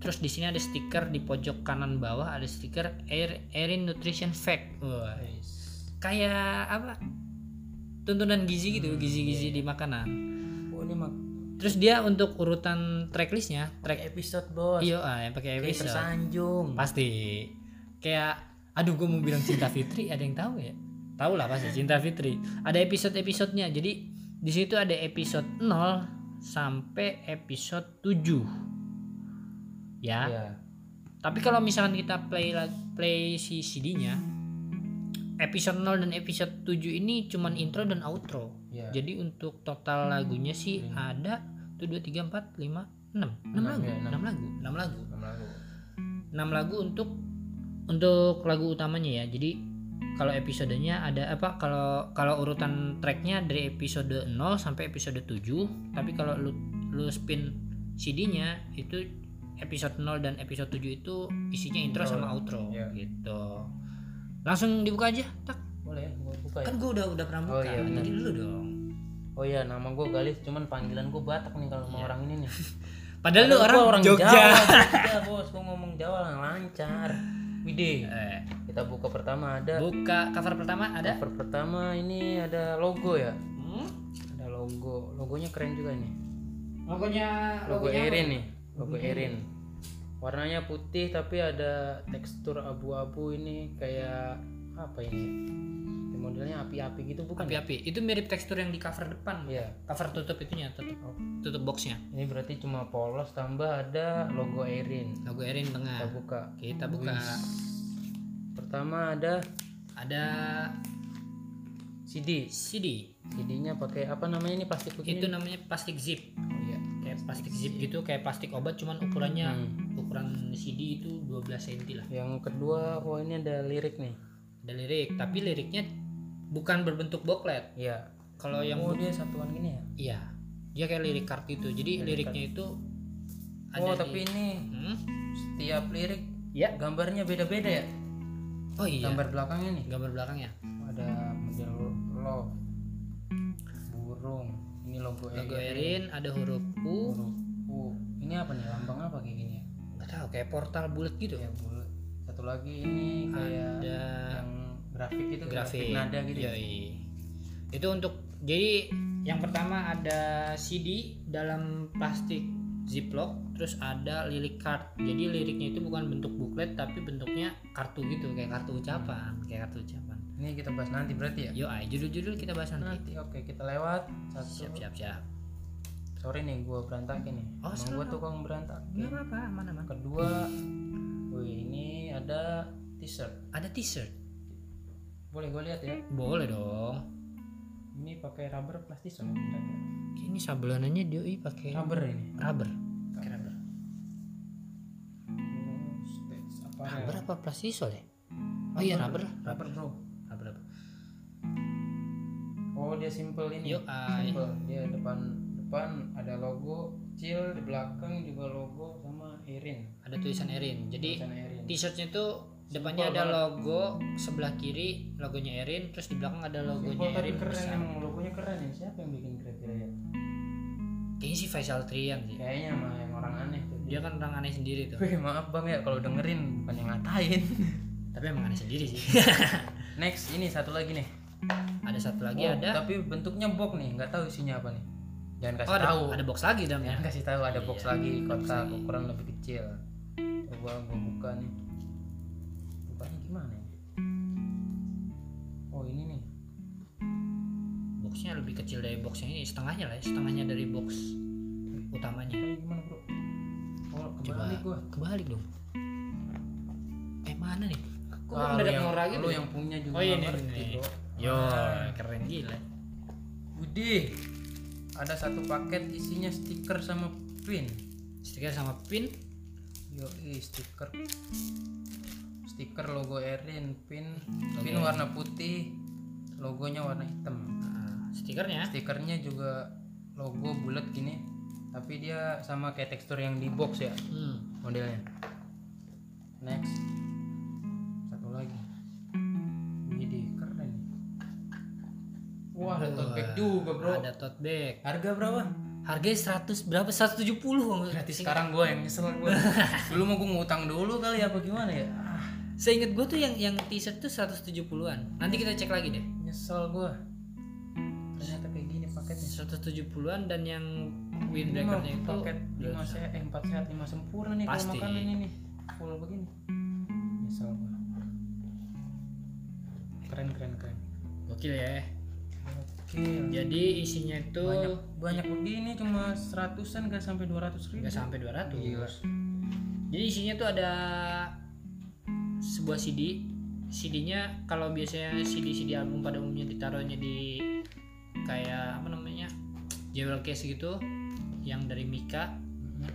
A: terus di sini ada stiker di pojok kanan bawah ada stiker Air Erin Nutrition Fact Wah, kayak apa tuntunan gizi gitu
B: Hmm,
A: gizi-gizi
B: iya,
A: di makanan
B: oh ini mah
A: terus dia untuk urutan tracklistnya track
B: episode bos
A: iyo ah yang pakai
B: Oh, Kayak
A: episode
B: tersanjung
A: pasti kayak aduh gue mau bilang cinta Fitri ada yang tahu ya tahu lah pasti cinta Fitri ada episode episodenya jadi di situ ada episode 0 sampai episode 7 ya
B: Iya.
A: Tapi kalau misalkan kita play la- play si CD-nya episode 0 dan episode 7 ini cuman intro dan outro.
B: Iya.
A: Jadi untuk total lagunya sih ada 1 2 3 4 5 6. 6
B: Enam
A: lagu,
B: ya, enam.
A: 6 lagu, 6 lagu.
B: Enam lagu.
A: 6 lagu untuk untuk lagu utamanya ya. Jadi kalau episodenya ada apa kalau kalau urutan tracknya dari episode 0 sampai episode 7 tapi kalau lu lu spin CD-nya itu episode 0 dan episode 7 itu isinya intro,
B: Intro.
A: sama outro
B: Iya.
A: gitu langsung dibuka aja tak
B: Boleh ya, gua buka ya.
A: kan gua udah udah pernah buka
B: Oh, iya, benar.
A: jadi dulu dong
B: Oh iya, nama gua Galis, cuman panggilan gua Batak nih kalau sama
A: Iya.
B: orang ini nih.
A: padahal lu
B: Gua
A: orang, Jogja
B: Jawa, Jogja, bos. Gua ngomong Jawa lah, lancar. Wide.
A: Eh,
B: Kita buka pertama ada
A: buka cover pertama ada
B: cover pertama ini ada logo ya.
A: hmm?
B: Ada logo. Logonya keren juga nih.
A: logonya
B: Logo
A: logonya
B: Erin nih, logo Erin. Warnanya putih tapi ada tekstur abu-abu ini kayak apa ini? Kayak Modelnya api-api gitu bukan? ya?
A: api-api itu mirip tekstur yang di cover depan
B: Iya.
A: cover tutup itunya tutup
B: Hmm.
A: tutup boxnya
B: Ini berarti cuma polos tambah ada logo Erin.
A: logo Erin
B: Kita
A: tengah
B: buka.
A: kita buka
B: Pertama ada
A: ada
B: CD.
A: CD
B: CD-nya pakai apa namanya ini plastik
A: Hmm. itu
B: begini?
A: namanya plastik zip
B: Oh, iya.
A: kayak plastik zip gitu kayak plastik obat cuman ukurannya
B: Hmm.
A: ukuran CD itu 12 cm lah
B: Yang kedua, oh ini ada lirik nih.
A: ada lirik tapi liriknya bukan berbentuk booklet
B: Iya.
A: kalau yang
B: Oh
A: bu-
B: dia satuan gini ya?
A: iya dia kayak lirik kartu itu jadi
B: Lirik
A: liriknya itu ada
B: Oh
A: di-
B: tapi ini
A: Hmm?
B: setiap lirik
A: Iya.
B: gambarnya beda-beda ya?
A: oh iya gambar, ya?
B: Gambar belakangnya nih.
A: belakangnya
B: ada model love burung ini logo
A: logo
B: Erin.
A: Erin ada huruf U
B: Huruf U. ini apa nih lambang apa kayak gini ya
A: nggak tahu kayak portal bulat gitu
B: ya bulat satu lagi ini kayak
A: ada
B: yang grafik itu grafik,
A: Iya. grafik Iya,
B: nada gitu ya
A: Yoi. itu untuk jadi yang pertama ada CD dalam plastik ziplock terus ada lirik card jadi liriknya itu bukan bentuk booklet tapi bentuknya kartu gitu kayak kartu ucapan kayak kartu ucapan
B: ini kita bahas nanti berarti ya
A: yo ay judul-judul kita bahas nanti
B: nanti oke kita lewat satu
A: gitu. siap siap siap
B: sorry nih gua berantakin nih
A: Oh,
B: emang gua tukang berantakin
A: nggak apa-apa aman aman
B: kedua wih ini ada t-shirt
A: ada t-shirt
B: boleh gua lihat ya
A: boleh dong
B: ini pakai rubber plastis sama bentuknya.
A: ini sabelanannya dia ih, pakai
B: rubber ini
A: rubber Pakai rubber
B: States Hmm, apa ya?
A: rubber apa plastisol ya oh iya rubber lah.
B: Rubber, bro
A: rubber rubber
B: oh dia simple ini
A: yo ay
B: simple dia depan depan ada logo kecil di belakang juga logo sama Erin
A: ada tulisan Erin jadi
B: tulisan Erin
A: T-shirtnya tuh depannya
B: Simple
A: ada
B: banget.
A: logo sebelah kiri logonya Erin terus di belakang ada
B: Simple
A: logonya
B: tapi
A: Erin
B: keren
A: besar.
B: emang logonya keren ya siapa yang bikin kira-kira ya
A: Kayaknya sih Faisal Trian sih.
B: kayaknya mah yang orang aneh tuh
A: Dia kan orang aneh sendiri tuh.
B: Wih, maaf bang ya kalau dengerin bukan yang ngatain
A: Tapi emang aneh sendiri sih.
B: next ini satu lagi nih
A: ada satu lagi
B: Oh,
A: ada
B: tapi bentuknya box nih nggak tahu isinya apa nih jangan
A: oh
B: kasih
A: ada,
B: tahu Ya.
A: ada box lagi ya.
B: Jangan
A: dalamnya.
B: kasih tahu ada box
A: Iya,
B: lagi kotak
A: lagi.
B: ukuran lebih kecil. Coba gua buka nih. Bukanya gimana ya? Oh ini nih.
A: Boxnya lebih kecil dari box yang ini setengahnya lah, ya, setengahnya dari box utamanya.
B: Bukanya gimana bro? Oh
A: Coba
B: kembali gua.
A: kebalik dong. Eh mana nih? Kok
B: Ah, lu
A: mendadak
B: yang,
A: norak gitu?
B: lu yang punya juga
A: Oh iya
B: nggak
A: ini
B: ngerti,
A: ini.
B: bro.
A: Yo
B: Ah.
A: keren gila.
B: Budi, ada satu paket isinya stiker sama pin.
A: Stiker sama pin
B: Yo stiker stiker logo Erin, pin
A: Logo
B: pin warna putih, logonya warna hitam.
A: Nah, stikernya
B: stikernya juga logo bulat gini tapi dia sama kayak tekstur yang di box ya
A: hmm.
B: modelnya next satu lagi ini keren wah ada tote bag juga bro
A: ada tote bag
B: harga berapa
A: harganya 100 berapa 170 kalau
B: berarti
A: gratis
B: sekarang gue yang nyesel gue dulu mau gue ngutang dulu kali apa gimana ya ah,
A: seingat gue tuh yang yang t-shirt tuh 170-an nanti kita cek lagi deh
B: nyesel gue ternyata kayak gini paketnya
A: 170-an dan yang
B: ini mah
A: windbreakernya itu
B: paket lima
A: berapa?
B: sehat, eh, empat sehat lima sempurna nih kalau
A: Pasti.
B: makanan ini nih full begini nyesel gua keren keren keren
A: gokil ya
B: oke
A: jadi isinya itu
B: banyak banyak begini cuma seratusan gak sampai dua ratus ribu
A: nggak sampai 200
B: Gila.
A: Jadi isinya tuh ada sebuah CD. CD-nya kalau biasanya CD CD album pada umumnya ditaruhnya di kayak apa namanya? jewel case gitu yang dari Mika.
B: Iya.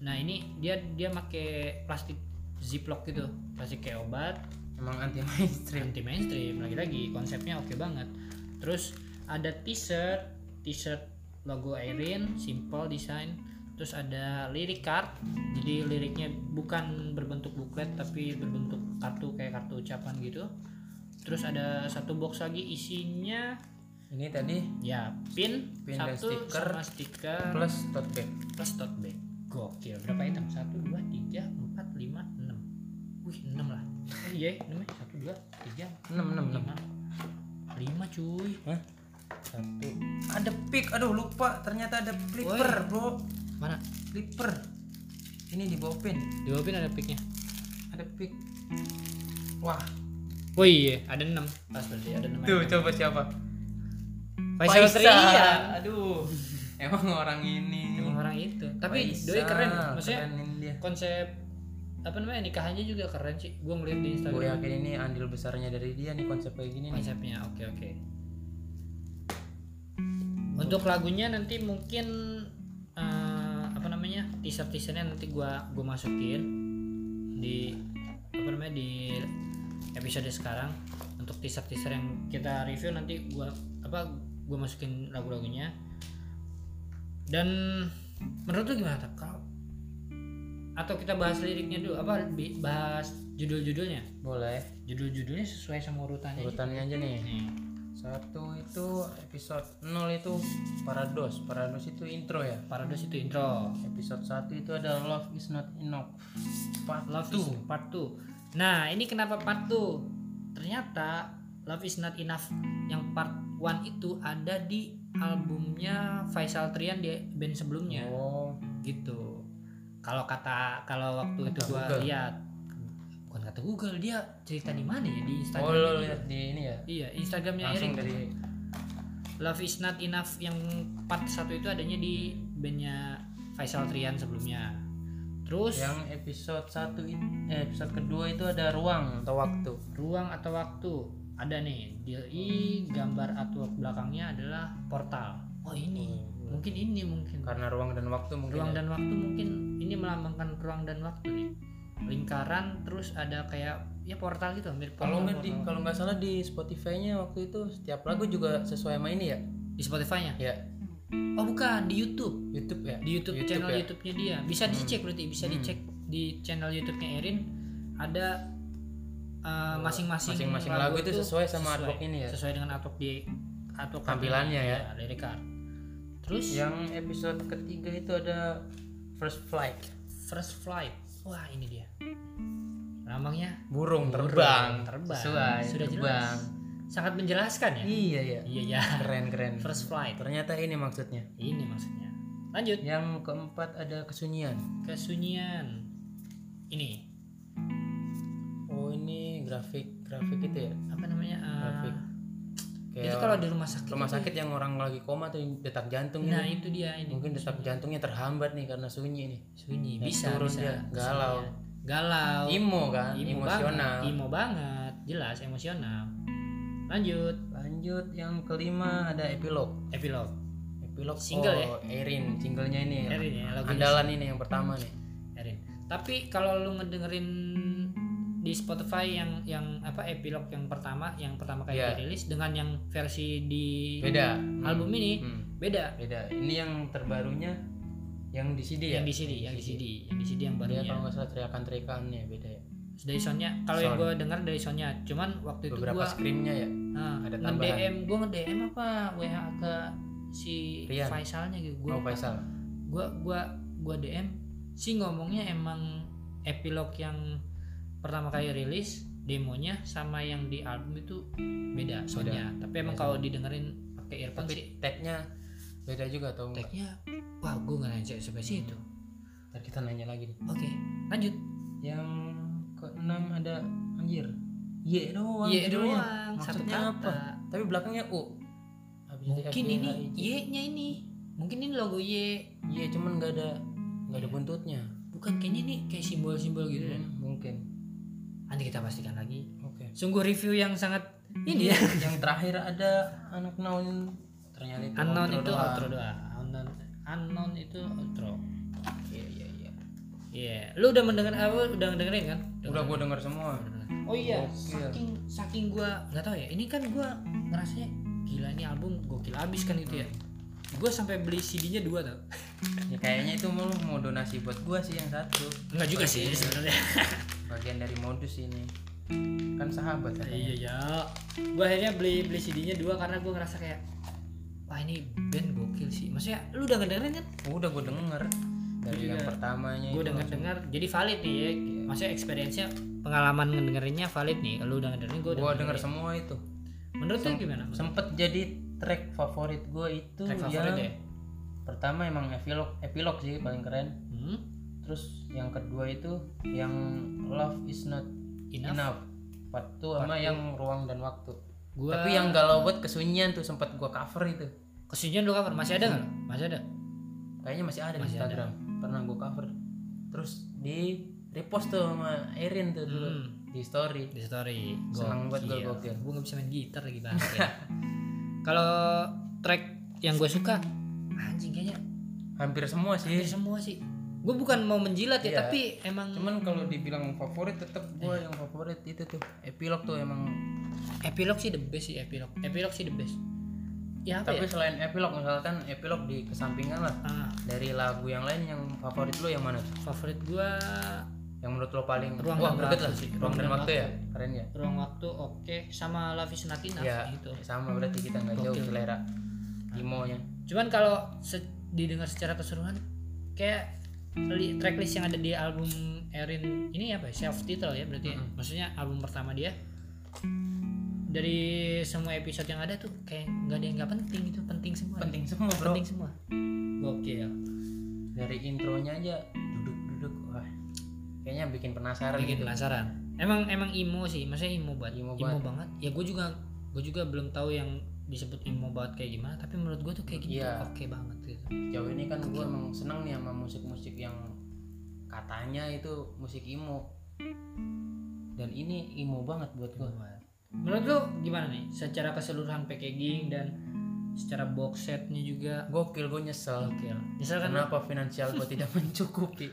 A: Nah, ini dia dia make plastik ziplock gitu, plastik kayak obat
B: emang anti mainstream
A: anti mainstream lagi-lagi konsepnya oke banget terus ada t-shirt t-shirt logo Airin simple design terus ada lirik card jadi liriknya bukan berbentuk buklet tapi berbentuk kartu kayak kartu ucapan gitu terus ada satu box lagi isinya
B: ini tadi
A: ya pin,
B: Pin dan
A: satu
B: stiker.
A: sama stiker
B: plus tote bag
A: plus tote bag gokil berapa item satu dua tiga empat lima enam wih enam lah Eh, iya enam ya. satu dua tiga
B: 6 6
A: lima lima cuy
B: 6 Hah? satu ada pick aduh lupa ternyata ada flipper bro
A: mana
B: flipper ini di bawah pin
A: di Bobin ada picknya
B: ada pick wah
A: oh iya ada enam pas berarti ada enam
B: tuh coba siapa
A: Faisal Trian
B: aduh emang orang ini
A: emang orang itu tapi
B: Faisal,
A: doi keren maksudnya
B: kerenin dia
A: konsep apa namanya nikahannya juga keren sih gue ngeliat di
B: gue
A: Instagram
B: yakin ini andil besarnya dari dia nih konsep kayak gini nih
A: konsepnya oke oke untuk lagunya nanti mungkin eh, apa namanya teaser teasernya nanti gua gua masukin di apa namanya di episode sekarang untuk teaser teaser yang kita review nanti gua apa gua masukin lagu-lagunya dan menurut lu gimana Tak? kalau atau kita bahas liriknya dulu apa bi- bahas judul-judulnya
B: boleh
A: judul-judulnya sesuai sama urutannya aja.
B: urutannya aja nih
A: Nih.
B: satu itu episode 0 itu parados parados itu intro ya
A: Paradox itu intro.
B: episode 1 itu ada love is not enough part
A: Love
B: two.
A: is part 2. Nah, ini kenapa part 2? Ternyata Love is not enough yang part 1 itu ada di albumnya Faisal Trian di band sebelumnya
B: oh
A: gitu. Kalau kata kalau waktu itu
B: Kata
A: gua
B: Google.
A: lihat bukan kata Google, dia cerita di mana ya di
B: oh
A: Instagram.
B: lo lihat di ini ya
A: Iya, Instagramnya
B: langsung
A: Erin.
B: dari
A: Love is not enough yang part 1 itu adanya di bandnya Faisal Trian sebelumnya. Terus
B: yang episode 1 eh, episode kedua itu ada ruang atau waktu
A: ruang atau waktu ada nih di i gambar artwork belakangnya adalah portal oh ini
B: Hmm.
A: mungkin ini mungkin
B: karena ruang dan waktu mungkin
A: ruang
B: ya.
A: dan waktu mungkin ini melambangkan ruang dan waktu nih lingkaran terus ada kayak ya portal gitu mirip
B: kalau
A: portal,
B: nggak di
A: portal.
B: kalau nggak salah di Spotify-nya waktu itu setiap lagu juga sesuai sama ini ya
A: di Spotify nya
B: ya
A: oh bukan di YouTube
B: YouTube ya
A: di YouTube,
B: YouTube
A: channel
B: ya?
A: YouTube-nya dia bisa
B: Hmm.
A: dicek berarti bisa
B: Hmm.
A: dicek di channel YouTube-nya Erin ada uh, masing-masing
B: Oh, Masing-masing lagu itu sesuai sama
A: sesuai.
B: artwork ini ya?
A: sesuai dengan artwork di artwork
B: Tampilannya ya?
A: lirik art. terus
B: yang episode ketiga itu ada first flight
A: first flight wah ini dia lambangnya
B: burung
A: burung terbang
B: sesuai
A: sudah
B: terbang.
A: jelas sangat menjelaskan ya
B: iya ya
A: iya ya
B: keren keren
A: first flight
B: ternyata ini maksudnya
A: ini maksudnya lanjut
B: yang keempat ada kesunyian
A: kesunyian ini
B: oh ini grafik grafik itu ya
A: apa namanya uh,
B: Grafik.
A: itu
B: kayak
A: kalau di rumah sakit
B: rumah
A: itu ya.
B: sakit yang orang lagi koma tuh detak jantung
A: Nah
B: gitu.
A: itu dia ini
B: mungkin detak jantungnya terhambat nih karena sunyi nih
A: sunyi
B: Naik
A: bisa
B: Hmm, turun
A: bisa
B: dia, galau.
A: Sunyi. galau
B: imo kan
A: Imo
B: emosional
A: Oh, banget, imo banget jelas emosional lanjut
B: lanjut yang kelima ada epilog
A: epilog
B: epilog
A: Single ya?
B: oh, Erin singlenya ini ya.
A: Erin ya lagunya
B: andalan ini yang pertama nih
A: Erin tapi kalau lu ngedengerin di Spotify yang yang apa epilog yang pertama yang pertama kali
B: Iya.
A: dirilis dengan yang versi di
B: beda
A: album ini
B: Hmm,
A: beda
B: beda ini yang terbarunya yang di CD ya
A: yang di CD yang di Iya. CD yang di CD yang
B: Dia
A: barunya
B: kalau nggak salah teriakan-teriakannya beda ya
A: dari soundnya kalau yang
B: Sound.
A: gue denger dari soundnya cuman waktu itu
B: beberapa
A: gue
B: screamnya ya
A: Nah,
B: Ada
A: nge
B: tambahan.
A: DM gue nge DM apa WA ke si
B: Rian. Oh,
A: Faisalnya gitu. Gue
B: mau Faisal
A: gua gua gua DM si ngomongnya emang epilog yang pertama kali rilis demonya sama yang di album itu beda soalnya. Tapi emang
B: Beda.
A: kalau didengerin pakai earphone sih
B: tapi tagnya beda juga atau enggak
A: tag-nya wah gue nggak nanya sampai situ.
B: Ntar kita nanya lagi nih
A: Oke, lanjut.
B: yang keenam ada anjir Y doang
A: Y
B: judulnya.
A: doang satu
B: Maksudnya
A: kata.
B: apa? tapi belakangnya U Habis itu
A: Mungkin
B: FYI.
A: ini Y-nya ini. Mungkin ini logo Y
B: Y cuman nggak ada nggak ada buntutnya kan?
A: bukan kayaknya ini kayak simbol-simbol gitu
B: Hmm.
A: deh.
B: mungkin
A: nanti kita pastikan lagi
B: oke
A: sungguh review yang sangat ini ya
B: yang terakhir ada anak naon ternyata itu
A: unknown
B: outro
A: itu
B: doang.
A: outro doa unknown, unknown itu outro
B: iya iya iya
A: Iya, lu udah mendengar apa? Udah dengerin kan?
B: udah gua denger semua
A: Oh iya,
B: Gokil.
A: saking saking gua nggak tahu ya. Ini kan gua ngerasanya gila ini album gokil abis kan gitu ya. Gua sampai beli CD-nya dua tau.
B: ya kayaknya itu mau mau donasi buat gua sih yang satu
A: Enggak juga sih sebenarnya.
B: bagian dari modus ini kan sahabat katanya
A: iya ya. Gua akhirnya beli beli CD-nya dua karena gua ngerasa kayak wah ini band gokil sih. Maksudnya lu udah ngedengerin kan?
B: udah gua denger dari
A: Gua
B: yang
A: juga-
B: pertamanya
A: Iya. Gua
B: itu
A: udah
B: langsung.
A: ngedenger. Jadi valid nih ya. Maksudnya experience-nya pengalaman ngedengerinnya valid nih. Lu udah ngedengerin gua udah.
B: gua denger
A: ngedengerin.
B: semua itu
A: Menurut lu gimana?
B: sempet jadi track favorit gua itu
A: Track favorit ya?
B: yang pertama emang epilog epilog sih paling keren
A: Hmm?
B: terus yang kedua itu yang love is not
A: Enough.
B: enough part two sama yang ruang dan waktu
A: Gua
B: tapi yang galau buat kesunyian tuh sempat gua cover itu
A: kesunyian lu cover masih ada nggak? lu? Masih ada.
B: kayaknya masih ada di
A: Masih ada.
B: Instagram pernah gua cover terus di repost tuh sama Erin tuh dulu
A: Hmm.
B: di story
A: di story
B: Senang banget gua gokil.
A: gue gak bisa main gitar lagi bang Ya. kalau track yang gue suka anjing kayaknya
B: hampir semua
A: hampir
B: sih
A: semua sih gue bukan mau menjilat ya
B: Eh. Iya.
A: tapi emang
B: cuman kalau dibilang favorit tetap gua yang favorit itu tuh epilog tuh emang
A: epilog sih the best sih epilog epilog sih the best ya apa
B: tapi
A: ya
B: selain epilog misalkan epilog di kesampingan lah
A: Ah,
B: dari lagu yang lain yang favorit lo yang mana tuh?
A: favorit gue
B: yang menurut lo paling
A: Ruang
B: wah
A: dan
B: greget lah
A: Waktu sih.
B: ruang dan waktu ya keren ya
A: ruang waktu oke sama La Natina
B: ya
A: gitu
B: sama berarti kita nggak jauh
A: Gokil.
B: selera imonya
A: cuman kalau se- didengar secara keseluruhan kayak li- tracklist yang ada di album Erin ini apa ya self title ya berarti ya?
B: Mm-mm.
A: maksudnya album pertama dia dari semua episode yang ada tuh kayak nggak ada yang nggak penting itu penting semua
B: penting semua bro
A: penting semua gokil
B: dari intronya aja duduk duduk wah kayaknya bikin penasaran
A: bikin
B: gitu
A: penasaran emang emang emo sih maksudnya emo banget
B: Emo
A: emo, banget ya gue juga gue juga belum tahu yang disebut emo banget kayak gimana tapi menurut gue tuh kayak gitu
B: Iya.
A: oke banget gitu
B: jauh ini kan gue emang seneng nih sama musik-musik yang katanya itu musik imo dan ini imo banget buat gue
A: Menurut lu gimana nih secara keseluruhan packaging dan secara box setnya juga
B: gokil gue nyesel
A: oke lah. Misalkan
B: kenapa finansial gue tidak mencukupi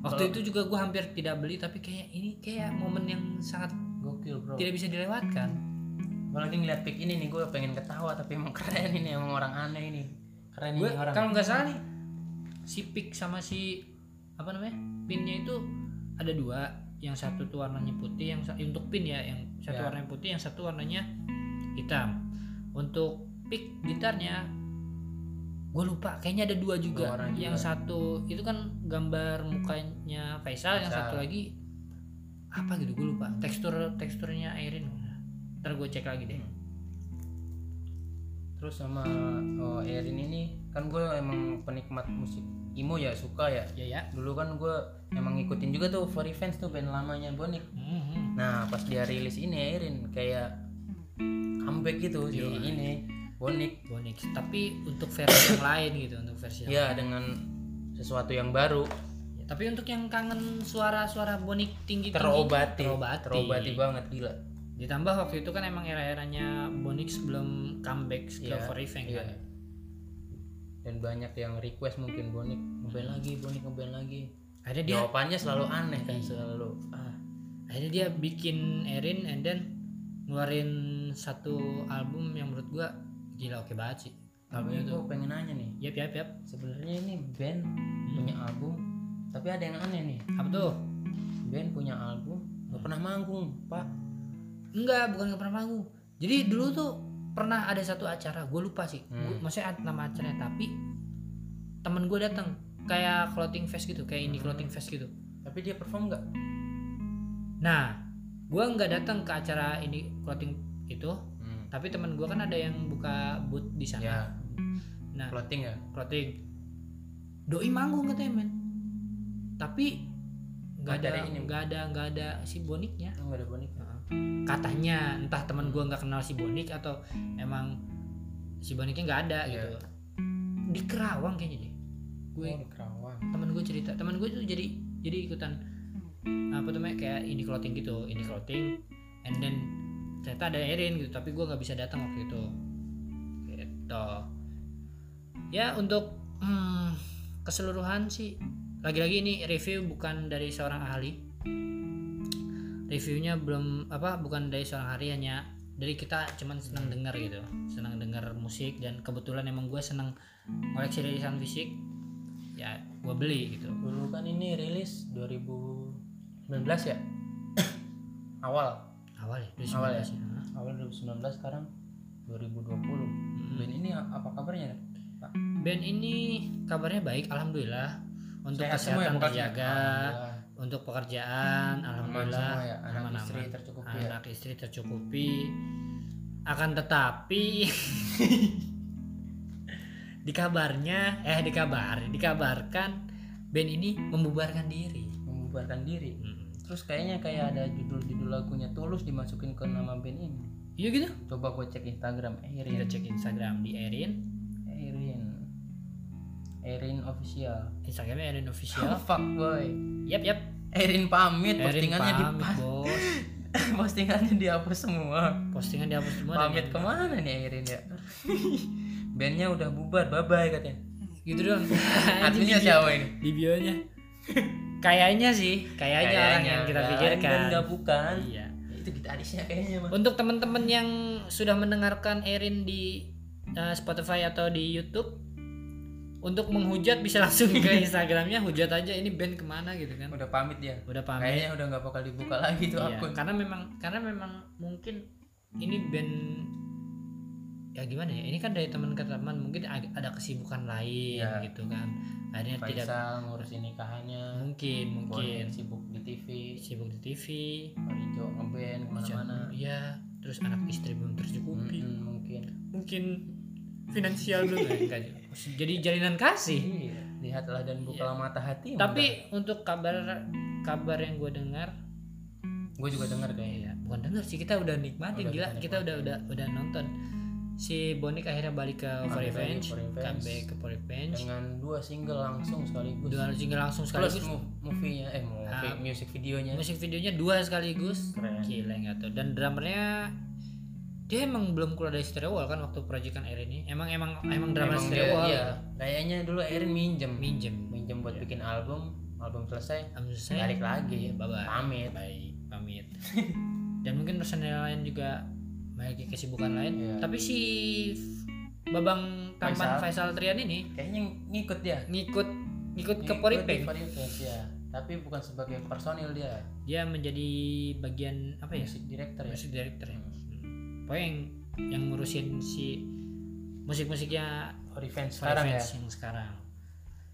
A: waktu itu juga gue hampir tidak beli tapi kayak ini kayak momen yang sangat
B: gokil bro
A: tidak bisa dilewatkan.
B: apalagi ngeliat pic ini nih gue pengen ketawa tapi emang keren ini emang orang aneh ini kan keren
A: Gue
B: ini Iya, orang
A: kalau nggak salah nih si pick sama si apa namanya pinnya itu ada dua yang satu tuh warnanya putih yang sa- untuk pin ya yang satu
B: Ya.
A: warnanya putih yang satu warnanya hitam untuk pick gitarnya gue lupa kayaknya ada dua juga
B: Dua orang
A: yang
B: juga.
A: satu itu kan gambar mukanya Faisal, yang
B: Faisal.
A: satu lagi apa gitu gue lupa tekstur teksturnya Airin ntar gue cek lagi deh
B: Hmm. terus sama oh, Erin ini kan gue emang penikmat musik emo ya suka ya
A: ya ya
B: dulu kan gue emang ngikutin juga tuh for fans tuh band lamanya Bonik
A: Mhm.
B: nah pas dia rilis ini Erin kayak comeback gitu di
A: Iya.
B: ini Bonik
A: Bonix tapi untuk versi yang lain gitu untuk versi yang-
B: ya dengan sesuatu yang baru
A: Ya, tapi untuk yang kangen suara-suara bonik tinggi
B: terobati
A: terobati
B: terobati banget gila
A: ditambah waktu itu kan emang era-eranya bonik sebelum comeback ke
B: Iya,
A: Forifeng
B: iya.
A: kan
B: dan banyak yang request mungkin Bonik ngeband lagi Bonik ngeband lagi
A: akhirnya dia
B: jawabannya selalu aneh kan selalu ah
A: akhirnya dia bikin Erin and then ngeluarin satu album yang menurut gua gila oke banget sih
B: tapi
A: albumnya tuh
B: gue Iya, pengen nanya nih
A: yap yap yap
B: sebenarnya ini band punya album tapi ada yang aneh nih
A: apa tuh
B: band punya album nggak pernah manggung pak
A: enggak bukan nggak pernah manggung jadi dulu tuh pernah ada satu acara gue lupa sih Gua-
B: Hmm.
A: maksudnya ad- nama acaranya tapi temen gue datang kayak clothing fest gitu kayak indie
B: Hmm.
A: clothing fest gitu
B: tapi dia perform nggak
A: nah gue nggak datang ke acara ini clothing itu tapi temen gue kan ada yang buka booth di sana
B: Hmm, ya
A: nah
B: floating ya
A: clothing doi manggung katanya men tapi nggak ada
B: Acara ini.
A: nggak ada nggak ada si boniknya
B: Oh, nggak ada bonik
A: katanya entah teman gua nggak kenal si Bonik atau emang si Boniknya nggak ada
B: Iya.
A: gitu di Kerawang kayaknya deh gue
B: oh, di Kerawang
A: teman gue cerita teman gue tuh jadi jadi ikutan apa tuh namanya kayak ini clothing gitu ini clothing and then ternyata ada Erin gitu tapi gue nggak bisa datang waktu itu gitu ya untuk hmm, keseluruhan sih lagi-lagi ini review bukan dari seorang ahli reviewnya belum apa bukan dari seorang ahli hanya dari kita cuman senang dengar gitu senang dengar musik dan kebetulan emang gue senang koleksi rilisan fisik ya gue beli gitu
B: dulu kan ini rilis 2019 ya awal
A: awal ya
B: Awal ya?
A: 2019 ya.
B: awal 2019 sekarang 2020
A: ya.
B: band ini a- apa kabarnya Pak?
A: band ini kabarnya baik alhamdulillah untuk
B: Sehat semua
A: kesehatan
B: ya, bukan?
A: terjaga
B: Alhamdulillah.
A: untuk pekerjaan
B: aman
A: alhamdulillah
B: semua ya anak
A: aman-aman.
B: istri tercukupi ya
A: anak istri tercukupi akan tetapi dikabarnya eh dikabar dikabarkan band ini membubarkan diri
B: membubarkan diri
A: Hmm.
B: terus kayaknya kayak ada judul-judul lagunya tulus dimasukin ke nama band ini
A: iya gitu
B: coba gue cek Instagram
A: kita
B: Erin
A: cek Instagram di Erin
B: Erin Erin official
A: Instagramnya Erin official
B: oh, fuck boy
A: yap yap
B: Erin pamit
A: Erin
B: postingannya di
A: pamit bos
B: postingannya dihapus semua
A: postingan dihapus semua dan
B: pamit
A: yang-
B: kemana nih Erin ya bandnya udah bubar bye bye katanya
A: gitu doang
B: adminnya siapa ini
A: di bionya kayaknya sih kayaknya, orang yang kita
B: kan,
A: pikirkan
B: dan nggak bukan
A: iya
B: itu gitarisnya kayaknya mah
A: Untuk teman-teman yang sudah mendengarkan Erin di eh, Spotify atau di YouTube, untuk menghujat bisa langsung ke Instagramnya, hujat aja ini band kemana gitu kan?
B: udah pamit dia
A: Udah paham ya?
B: kayaknya udah nggak bakal dibuka lagi tuh
A: Iya,
B: akun
A: Karena memang, karena memang mungkin ini band ya gimana ya? Ini kan dari teman ke teman mungkin ag- ada kesibukan lain
B: Iya.
A: gitu kan? Akhirnya tidak
B: Faisal ngurusin nikahannya
A: mungkin mungkin
B: Bonin sibuk di TV
A: sibuk di TV,
B: Rijo ngeband kemana-mana
A: ya terus anak istri belum tercukupi.
B: Mm-mm, mungkin
A: mungkin finansial dulu ya, enggak juga. jadi jalinan kasih
B: iya lihatlah dan bukalah mata hati
A: Iya. tapi untuk kabar kabar yang gue dengar
B: gue juga dengar kayaknya
A: ya bukan dengar sih kita udah nikmatin
B: Udah
A: gila
B: kita
A: kita udah udah udah nonton si Bonik akhirnya balik ke For
B: lagi
A: Revenge
B: For Revenge.
A: comeback ke For Revenge
B: dengan dua single langsung sekaligus
A: dua single langsung
B: plus
A: sekaligus
B: mu- movie-nya eh movie
A: Ah.
B: music videonya
A: musik videonya dua sekaligus
B: Keren.
A: gila nggak tuh dan drummernya dia emang belum keluar dari stereo wall kan waktu proyekan air ini emang emang emang drama
B: Hmm, Emang
A: stereo
B: dia-
A: wall
B: iya. kayaknya dulu Erin minjem
A: minjem
B: minjem
A: Iya.
B: buat bikin album album selesai
A: Ambil saya
B: balik
A: Iya,
B: lagi
A: bye-bye.
B: pamit
A: baik pamit dan mungkin personel lain juga memiliki kesibukan lain
B: Iya.
A: tapi si babang tampan Faisal, Trian ini
B: kayaknya ngikut dia
A: ngikut ngikut ke
B: Ngikut di
A: Poripeng
B: Poripeng, ya tapi bukan sebagai personil dia
A: dia menjadi bagian apa ya
B: music director ya
A: musik director ya Hmm. pokoknya yang yang ngurusin si musik-musiknya
B: Revenge sekarang ya
A: Fans yang sekarang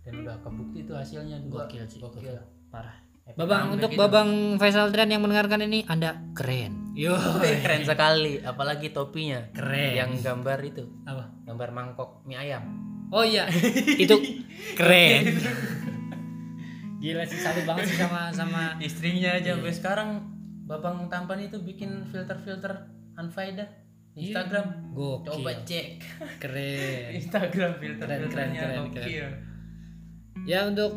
B: dan udah kebukti tuh hasilnya dua
A: Gokil sih,
B: gokil
A: parah babang
B: Epic comeback
A: untuk
B: gitu.
A: babang Faisal Trian yang mendengarkan ini anda keren yo
B: Wih, keren sekali apalagi topinya
A: keren
B: yang gambar itu
A: apa
B: gambar mangkok mie ayam
A: Oh iya, itu keren. Gila sih salut banget sih sama sama
B: istrinya aja sampai sekarang babang tampan itu bikin filter-filter unfaedah di Instagram coba
A: Iya. gokil.
B: cek
A: Keren.
B: Instagram
A: Keren, keren,
B: filter-filternya
A: keren,
B: gokil
A: Ya untuk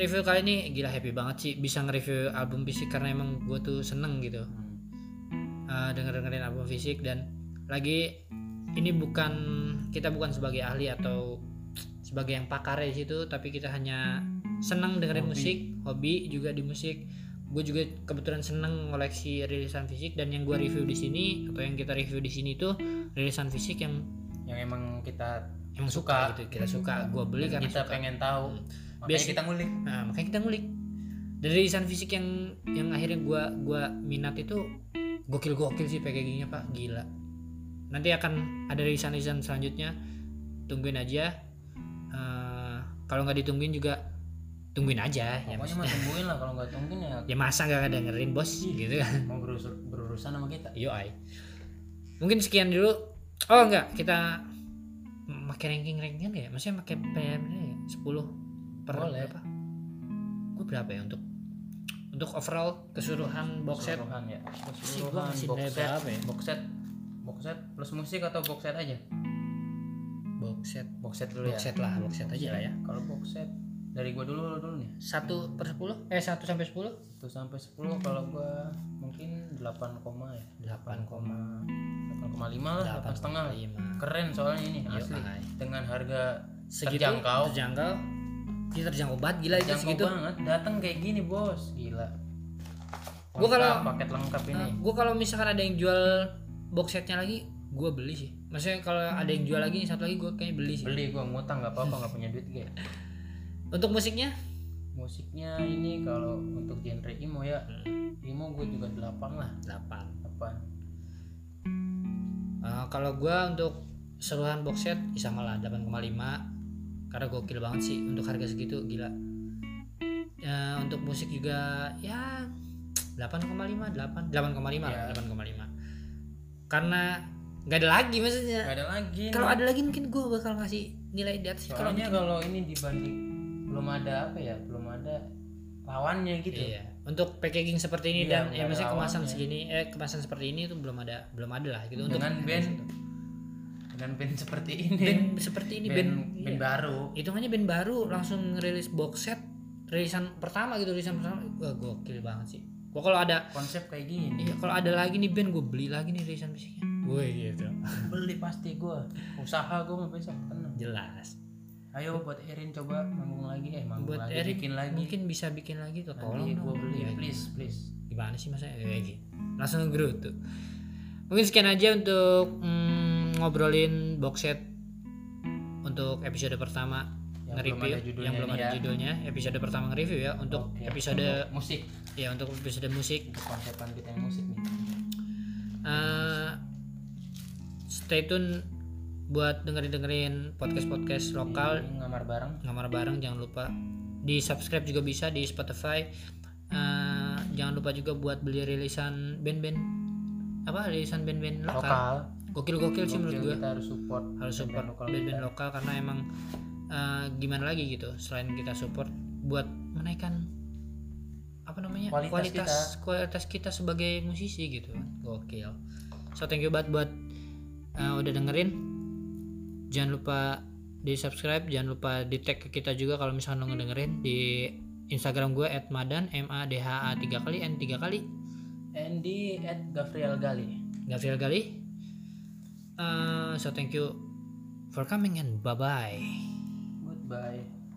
A: review kali ini gila happy banget sih bisa nge-review album fisik karena emang gue tuh seneng gitu
B: Hmm.
A: eh, denger dengerin album fisik dan lagi ini bukan kita bukan sebagai ahli atau sebagai yang pakar di situ tapi kita hanya seneng dengerin
B: Hobi.
A: musik hobi juga di musik gue juga kebetulan seneng koleksi rilisan fisik dan yang gue review di sini atau yang kita review di sini tuh rilisan fisik yang
B: yang emang kita
A: emang suka,
B: Suka.
A: gitu kita suka gue beli karena
B: kita
A: suka. Hmm.
B: pengen tahu makanya
A: Biasa-
B: kita ngulik
A: Nah, makanya kita ngulik. Dari desain fisik yang yang akhirnya gua gua minat itu gokil-gokil sih packagingnya Pak, gila. Nanti akan ada desain-desain selanjutnya. Tungguin aja. Eh, kalau nggak ditungguin juga tungguin aja ya.
B: pokoknya
A: maksud-
B: mah tungguin lah kalau nggak tungguin ya
A: Ya masa nggak dengerin bos gitu kan.
B: mau berusur- berurusan sama kita
A: Yo Mungkin sekian dulu. Oh enggak, kita pakai ranking-rankingan nggak ya? Maksudnya pakai PM ya? 10 per
B: Boleh.
A: berapa? Gue berapa ya untuk untuk overall keseluruhan box set?
B: Keseluruhan ya
A: Sih, gua
B: keseluruhan
A: ngasih
B: box
A: nilai
B: set
A: berapa ya?
B: box set box set plus musik atau box set aja
A: Box set.
B: box set dulu
A: Box
B: ya
A: set lah, box set aja lah ya.
B: kalau box set dari gua dulu lu dulu nih
A: satu per sepuluh eh satu sampai sepuluh
B: 1 sampai 10 kalau gua mungkin 8 koma ya
A: delapan
B: 8,5 lah 8 Ah, setengah
A: lima Iya,
B: keren soalnya ini
A: Yo,
B: asli
A: ay.
B: dengan harga
A: segitu
B: Terjangkau.
A: terjangkau Ini terjangkau banget gila itu
B: jangkau
A: Iya, segitu
B: banget datang kayak gini bos gila
A: Gua kalau-
B: Lengkap, paket lengkap ini
A: gue Eh, kalau misalkan ada yang jual box setnya lagi gue beli sih maksudnya kalau ada yang jual lagi satu lagi gue kayaknya beli sih
B: beli gua ngutang nggak apa-apa nggak punya duit gue
A: untuk musiknya
B: musiknya ini kalau untuk genre emo ya emo gue juga 8 lah
A: delapan
B: 8
A: Eh, kalau gue untuk seluruhan box set ya sama lah 8,5 karena gokil banget sih untuk harga segitu gila Eh, untuk musik juga ya 8,5 8 8,5 lah
B: Ya.
A: 8,5 karena nggak ada lagi maksudnya
B: nggak ada lagi
A: kalau ada lagi mungkin gue bakal ngasih nilai di atas kalau
B: soalnya kalau ini dibanding belum ada apa ya belum ada lawannya gitu
A: Iya. Untuk packaging seperti ini
B: Iya,
A: dan
B: nggak
A: ya
B: ada
A: misalnya kemasan
B: lawannya.
A: segini eh kemasan seperti ini itu belum ada belum ada lah gitu untuk
B: dengan band dengan band seperti ini
A: band seperti ini band, iya.
B: band baru
A: hitungannya band baru langsung ngerilis box set rilisan pertama gitu rilisan pertama wah gokil banget sih gua kalau ada
B: konsep kayak gini
A: iya kalau ada lagi nih band gue beli lagi nih rilisan fisiknya woi gitu
B: beli pasti gue usaha gue mau besok tenang
A: Iya. jelas
B: ayo buat Erin coba manggung lagi eh manggung
A: Buat
B: lagi
A: Erin,
B: bikin lagi
A: mungkin bisa bikin lagi tuh tolong
B: nanti
A: dong.
B: gue Iya, beli
A: Ya,
B: please please
A: gimana sih masa eh, gitu. langsung ngegerutu mungkin sekian aja untuk mm, ngobrolin box set untuk episode pertama
B: Yang belum
A: nge-review
B: ada judulnya
A: yang belum
B: nih
A: ada
B: ya.
A: judulnya episode pertama nge-review ya untuk
B: Oke,
A: episode
B: untuk musik
A: ya untuk episode musik
B: Untuk konsepan kita yang musik nih
A: Eh, stay tune buat dengerin dengerin podcast podcast lokal
B: Ini ngamar bareng
A: ngamar bareng jangan lupa di subscribe juga bisa di Spotify Eh, jangan lupa juga buat beli rilisan band-band apa rilisan band-band lokal
B: lokal
A: gokil gokil sih menurut
B: Gokil,
A: gue
B: kita harus support
A: harus support
B: band-band lokal
A: band-band lokal karena emang eh, gimana lagi gitu selain kita support buat menaikkan apa namanya
B: Kualitas
A: kualitas kualitas kita sebagai musisi gitu gokil so thank you banget buat eh, udah dengerin jangan lupa di subscribe jangan lupa di tag ke kita juga kalau misalnya mau dengerin di Instagram gue @madan m a d h a tiga kali n tiga kali
B: Andy at Gabriel Gali
A: Gabriel Gali Eh, so thank you for coming and bye bye
B: goodbye